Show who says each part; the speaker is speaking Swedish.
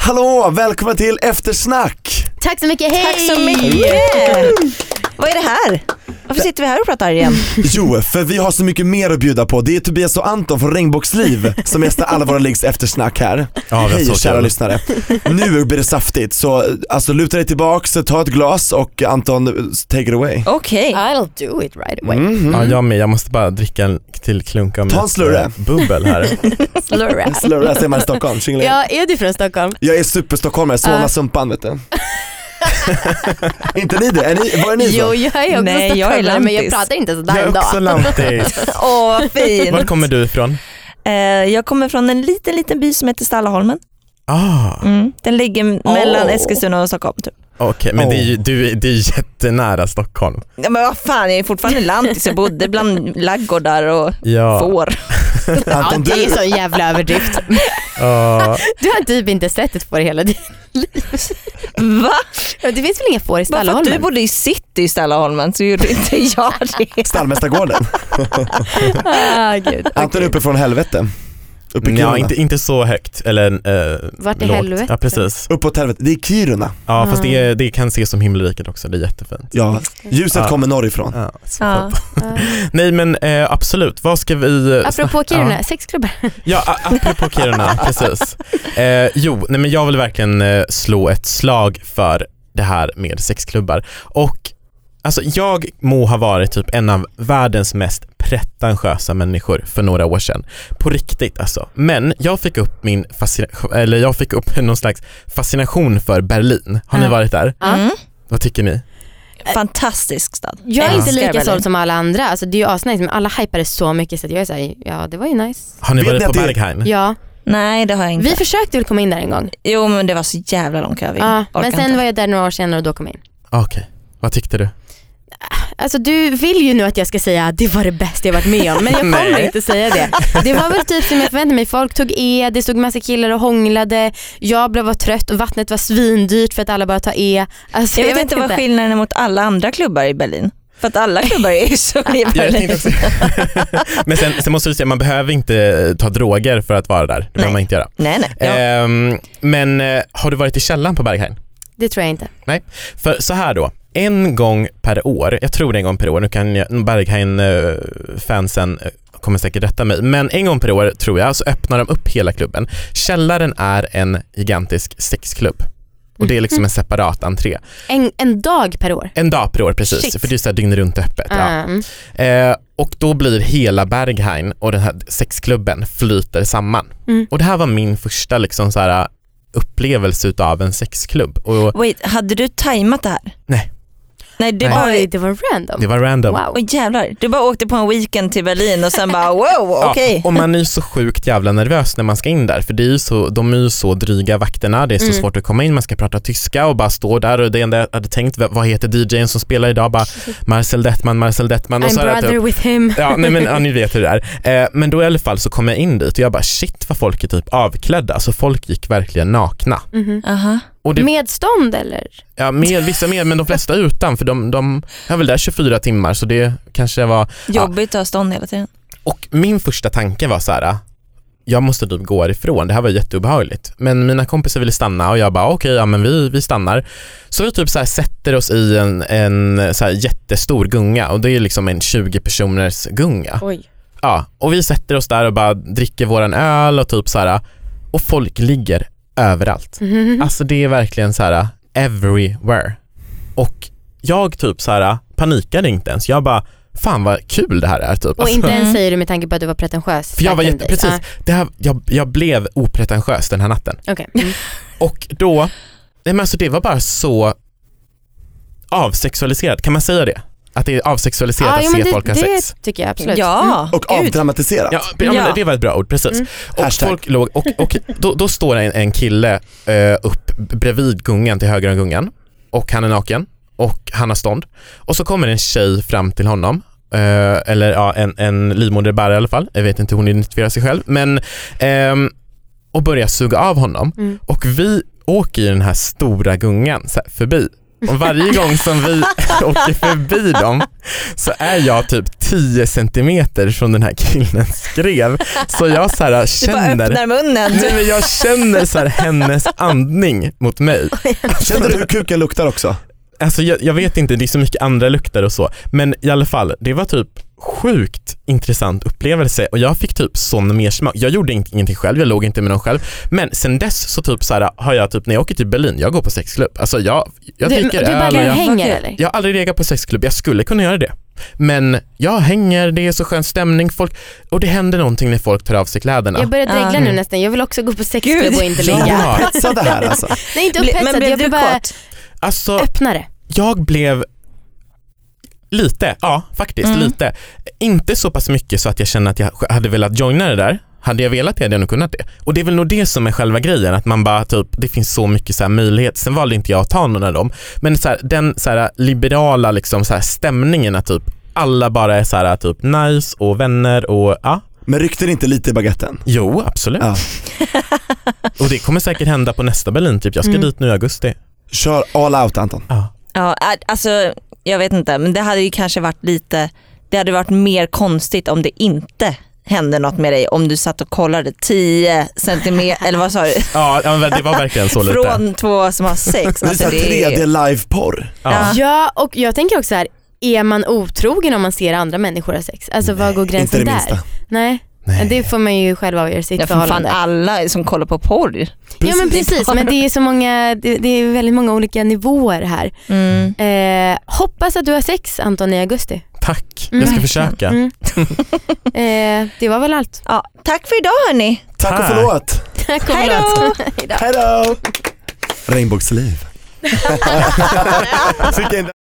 Speaker 1: Hallå, välkomna till eftersnack!
Speaker 2: Tack så mycket, hej!
Speaker 3: Tack så mycket! Vad är det här? Varför sitter vi här och pratar igen?
Speaker 1: Jo, för vi har så mycket mer att bjuda på. Det är Tobias och Anton från Regnbågsliv som gästar alla våra liggs eftersnack här.
Speaker 4: Ja, vi har
Speaker 1: Hej
Speaker 4: så
Speaker 1: kära
Speaker 4: kul.
Speaker 1: lyssnare. Nu blir det saftigt, så alltså, luta dig tillbaks, ta ett glas och Anton, take it away.
Speaker 3: Okej.
Speaker 2: I'll do it right away.
Speaker 1: Mhm.
Speaker 4: Ja, jag med. Jag måste bara dricka en till klunk av
Speaker 1: Ta en
Speaker 4: mitt,
Speaker 1: slurre.
Speaker 4: eh, bubbel här.
Speaker 2: Slurra.
Speaker 1: Slurra säger man i Stockholm, tjingeling.
Speaker 2: Ja, är du från Stockholm?
Speaker 1: Jag är superstockholmare, Solna
Speaker 2: Ah.
Speaker 1: Sumpan vet du. inte ni det? Är ni, var är ni
Speaker 2: Jo,
Speaker 1: ifrån?
Speaker 2: jag är också
Speaker 3: Nej, jag är
Speaker 2: stockholmare men jag
Speaker 3: lantis.
Speaker 2: pratar inte sådär
Speaker 4: Jag är
Speaker 2: idag.
Speaker 4: också lantis.
Speaker 3: Åh,
Speaker 4: Var
Speaker 3: fint.
Speaker 4: kommer du ifrån?
Speaker 3: Eh, jag kommer från en liten, liten by som heter Stallaholmen.
Speaker 4: Ah,
Speaker 3: Mm. Den ligger mellan
Speaker 2: Åh.
Speaker 3: Eskilstuna och Stockholm. Typ.
Speaker 4: Okej, men det är ju du, det är jättenära Stockholm.
Speaker 3: Ja, men vad fan, jag är fortfarande lantis. Jag bodde bland laggårdar och
Speaker 4: Ja,
Speaker 3: får.
Speaker 2: Ja,
Speaker 1: Anton,
Speaker 2: det är ju
Speaker 1: du,
Speaker 2: sån jävla överdrift.
Speaker 4: ah,
Speaker 2: Du har typ inte sett ett får i hela ditt liv.
Speaker 3: Va?
Speaker 2: Ja, Det finns väl inga får i
Speaker 3: Bara för att du
Speaker 2: Stallaholmen?
Speaker 3: bodde i city i Stallaholmen så gjorde inte jag det.
Speaker 1: Stallmästargården.
Speaker 2: Ah, gud.
Speaker 1: Anton är uppifrån helvete. Upp i Kiruna.
Speaker 4: ja inte, inte så högt eller eh,
Speaker 2: Vart i
Speaker 4: lågt.
Speaker 2: helvete?
Speaker 4: Ja precis.
Speaker 1: Uppåt helvete, det är Kiruna.
Speaker 4: Ja
Speaker 2: Ah.
Speaker 4: fast det, är- det kan ses som himmelriket också, det är jättefint.
Speaker 1: Ja, ljuset
Speaker 4: Ja.
Speaker 1: kommer norrifrån.
Speaker 4: Ja, så
Speaker 3: Ja.
Speaker 4: fint. Nej men eh, absolut, vad ska vi eh,
Speaker 2: Apropå Kiruna, sexklubbar.
Speaker 4: Ja, a- apropå Kiruna, precis. Eh, jo, nej men jag vill verkligen eh, slå ett slag för det här med sexklubbar. Och alltså jag må ha varit typ en av världens mest pretentiösa människor för några år sedan. På riktigt alltså. Men jag fick upp min fascination, eller jag fick upp någon slags fascination för Berlin. Har ni
Speaker 2: Ja.
Speaker 4: varit där?
Speaker 2: Ja.
Speaker 3: Mm.
Speaker 4: Vad tycker ni?
Speaker 3: Fantastisk stad.
Speaker 2: Jag är
Speaker 4: Ja.
Speaker 2: inte lika
Speaker 3: Älskar
Speaker 2: såld
Speaker 3: Berlin.
Speaker 2: som alla andra, alltså, det är ju asnice men alla hypar det så mycket så att jag är såhär, ja det var ju nice.
Speaker 4: Har ni
Speaker 1: Vet ni
Speaker 4: varit på
Speaker 1: att det-
Speaker 4: Berghain?
Speaker 2: Ja,
Speaker 3: Nej det har jag Mm. inte.
Speaker 2: vi försökte väl komma in där en gång.
Speaker 3: Jo men det var så jävla lång kö. vi
Speaker 2: Ja,
Speaker 3: orkar
Speaker 2: men
Speaker 3: inte.
Speaker 2: sen var jag där några år senare och då kom jag in.
Speaker 4: Okej, vad tyckte du?
Speaker 2: Alltså du vill ju nu att jag ska säga att det var det bästa jag varit med om men jag kommer
Speaker 4: Nej.
Speaker 2: inte säga det. Det var väl typ som jag förväntade mig. Folk tog E, det stod massa killar och hånglade. Jag blev var trött och vattnet var svindyrt för att alla bara tar E. Alltså,
Speaker 3: Jag vet, inte vad skillnaden är mot alla andra klubbar i Berlin. För att alla klubbar är ju så i
Speaker 4: Ja, jag
Speaker 3: Berlin.
Speaker 4: tänkte också- Men sen, sen måste du säga, man behöver inte ta droger för att vara där. Det behöver man inte göra.
Speaker 3: Nej nej. Ja.
Speaker 4: Ehm, men eh, har du varit i källaren på Berghain?
Speaker 2: Det tror jag inte.
Speaker 4: För så här då, en gång per år, jag tror det är en gång per år, nu kan jag- Berghain-fansen eh, kommer säkert rätta mig, men en gång per år tror jag så öppnar de upp hela klubben. Källaren är en gigantisk sexklubb och det är liksom en separat entré.
Speaker 2: En, en dag per år.
Speaker 4: En dag per år precis,
Speaker 2: Shit.
Speaker 4: för det är så här dygnet runt öppet. Ja.
Speaker 2: Mm.
Speaker 4: Eh, och då blir hela Berghain och den här sexklubben flyter samman.
Speaker 2: Mm.
Speaker 4: Och det här var min första liksom så här, upplevelse utav en sexklubb. Och
Speaker 3: Wait, hade du tajmat det här?
Speaker 4: Nej.
Speaker 3: Nej du
Speaker 4: Nej.
Speaker 3: bara,
Speaker 2: Oj, det var random.
Speaker 4: det var random.
Speaker 2: Wow.
Speaker 3: Åh, jävlar. Du bara åkte på en weekend till Berlin och sen bara wow
Speaker 4: Ja,
Speaker 3: okej.
Speaker 4: och man är ju så sjukt jävla nervös när man ska in där för det är ju så, de är ju så dryga vakterna, det är så
Speaker 2: Mm.
Speaker 4: svårt att komma in, man ska prata tyska och bara stå där och det enda jag hade tänkt, vad vad heter DJn som spelar idag? Bara Marcel Detman, Marcel Detman och
Speaker 2: I'm
Speaker 4: så har jag typ-
Speaker 2: brother with him.
Speaker 4: Ja, nej, men, ja, ni vet hur det är. Eh, men då i alla fall så kom jag in dit och jag bara shit vad folk är typ avklädda, alltså folk gick verkligen nakna.
Speaker 2: Mhm.
Speaker 3: Aha.
Speaker 4: Och det,
Speaker 2: Med stånd eller?
Speaker 4: ja, mer, vissa mer men de flesta utan för de, de är väl där 24 timmar så det kanske var,
Speaker 3: Jobbigt att ha stånd hela tiden.
Speaker 4: och min första tanke var så här. Jag måste typ gå ifrån, det här var jätteobehagligt. Men mina kompisar ville stanna och jag bara okej, ja men vi, vi stannar. Så vi typ så här sätter oss i en, en så här jättestor gunga och det är liksom en 20 personers gunga.
Speaker 2: Oj.
Speaker 4: Ja, och vi sätter oss där och bara dricker våran öl och typ så här och folk ligger överallt.
Speaker 2: Mm-hmm. Mm.
Speaker 4: Alltså det är verkligen så här everywhere. Och jag typ så här panikade inte ens. Jag bara fan vad kul det här är typ.
Speaker 2: Och
Speaker 4: Alltså,
Speaker 2: inte ens
Speaker 3: Mm.
Speaker 2: säger du med tanke på att du var pretentiös.
Speaker 4: för jag var
Speaker 2: back in
Speaker 4: jätte,
Speaker 2: days.
Speaker 4: precis, det här, jag, jag blev opretentiös den här natten.
Speaker 2: Ah, okej. Mm.
Speaker 4: Och då, nej men alltså det var bara så avsexualiserat, kan man säga det? Att det är avsexualiserat
Speaker 2: Ah,
Speaker 4: att
Speaker 2: jo, men
Speaker 4: se
Speaker 2: det,
Speaker 4: folk ha
Speaker 2: det
Speaker 4: sex.
Speaker 2: tycker jag absolut.
Speaker 4: Mm.
Speaker 3: Ja.
Speaker 1: Och avdramatiserat.
Speaker 4: Ja, ja,
Speaker 3: Ja.
Speaker 4: men det var ett bra ord, precis.
Speaker 2: Mm.
Speaker 4: Och,
Speaker 1: Hashtag.
Speaker 4: folk låg, och, och då, då står en, en kille eh, upp bredvid gungan, till höger om gungan och han är naken och han har stånd. Och så kommer en tjej fram till honom, eh, eller ja, en, en livmoderbärare i alla fall, jag vet inte hur hon identifierar sig själv, men ehm, och börjar suga av honom.
Speaker 2: Mm.
Speaker 4: Och vi åker i den här stora gungan så här, förbi Och varje gång som vi åker förbi dem så är jag typ 10 centimeter från den här killens skrev. Så jag så här
Speaker 3: Du bara
Speaker 4: känner,
Speaker 3: öppnar munnen.
Speaker 4: nej, men jag känner så här hennes andning mot mig.
Speaker 1: Kände du hur kuken luktar också?
Speaker 4: Alltså jag, jag vet inte, det är så mycket andra lukter och så. Men i alla fall, det var typ sjukt intressant upplevelse och jag fick typ sån mersmak. Jag gjorde ing- ingenting själv, jag låg inte med någon själv. Men sen dess så typ så här, har jag typ, när jag åker till Berlin, jag går på sexklubb. Alltså jag, jag
Speaker 2: du,
Speaker 4: dricker
Speaker 2: du bara
Speaker 4: öl och jag,
Speaker 2: hänger
Speaker 3: Okej.
Speaker 2: eller?
Speaker 4: jag har aldrig legat på sexklubb, jag skulle kunna göra det. Men jag hänger, det är så skön stämning, folk, och det händer någonting när folk tar av sig kläderna.
Speaker 2: Jag börjar dregla
Speaker 3: Ah.
Speaker 2: nu nästan, jag vill också gå på
Speaker 3: Gud.
Speaker 2: sexklubb och inte
Speaker 4: Ja.
Speaker 2: ligga.
Speaker 1: Så det här alltså.
Speaker 2: Nej inte
Speaker 3: Ble-
Speaker 2: upphetsad,
Speaker 3: Men
Speaker 2: jag
Speaker 3: blev
Speaker 2: vill
Speaker 3: du
Speaker 2: bara
Speaker 3: kåt?
Speaker 4: Alltså,
Speaker 2: öppna det.
Speaker 4: jag blev lite, ja faktiskt
Speaker 3: Mm.
Speaker 4: lite. Inte så pass mycket så att jag känner att jag hade velat joina det där. Hade jag velat det hade jag nog kunnat det. Och det är väl nog det som är själva grejen, att man bara typ, det finns så mycket så här möjlighet. Sen valde inte jag att ta någon av dem. Men så här, den så här liberala liksom så här stämningen att typ alla bara är så här typ nice och vänner och ja,
Speaker 1: Men ryckte det inte lite i baguetten?
Speaker 4: jo absolut.
Speaker 1: Ja.
Speaker 4: Och det kommer säkert hända på nästa Berlin typ. Jag ska
Speaker 2: Mm.
Speaker 4: dit nu i augusti.
Speaker 1: Kör all out Anton.
Speaker 4: Ja.
Speaker 3: Ja, ä- alltså jag vet inte, men det hade ju kanske varit lite, det hade varit mer konstigt om det inte hände något med dig om du satt och kollade 10 centimeter, eller vad sa du?
Speaker 4: Ja, ja, men det var verkligen så lite.
Speaker 3: Från två som har sex.
Speaker 1: Men det är såhär
Speaker 3: Alltså, det är-
Speaker 1: 3D-liveporr.
Speaker 4: Ja.
Speaker 2: Ja och jag tänker också så här, är man otrogen om man ser andra människor ha sex? Alltså var går
Speaker 1: Inte
Speaker 2: gränsen
Speaker 1: det
Speaker 2: där?
Speaker 1: minsta.
Speaker 2: Nej.
Speaker 4: Nej.
Speaker 2: det får man ju själv avgöra i sitt
Speaker 3: Ja, för fan
Speaker 2: förhållande.
Speaker 3: alla som kollar på porr.
Speaker 2: Ja men precis, men det är så många, det, det är väldigt många olika nivåer här.
Speaker 3: Mm.
Speaker 2: Eh, hoppas att du har sex Anton i augusti.
Speaker 4: Tack,
Speaker 2: Mm.
Speaker 4: jag ska försöka.
Speaker 2: Mm. eh, det var väl allt.
Speaker 3: Ja, tack för idag hörni.
Speaker 1: Tack och
Speaker 4: Tack.
Speaker 1: förlåt.
Speaker 2: Tack och
Speaker 3: Hej
Speaker 2: förlåt.
Speaker 3: då!
Speaker 1: Hejdå! Regnbågsliv. Skicka in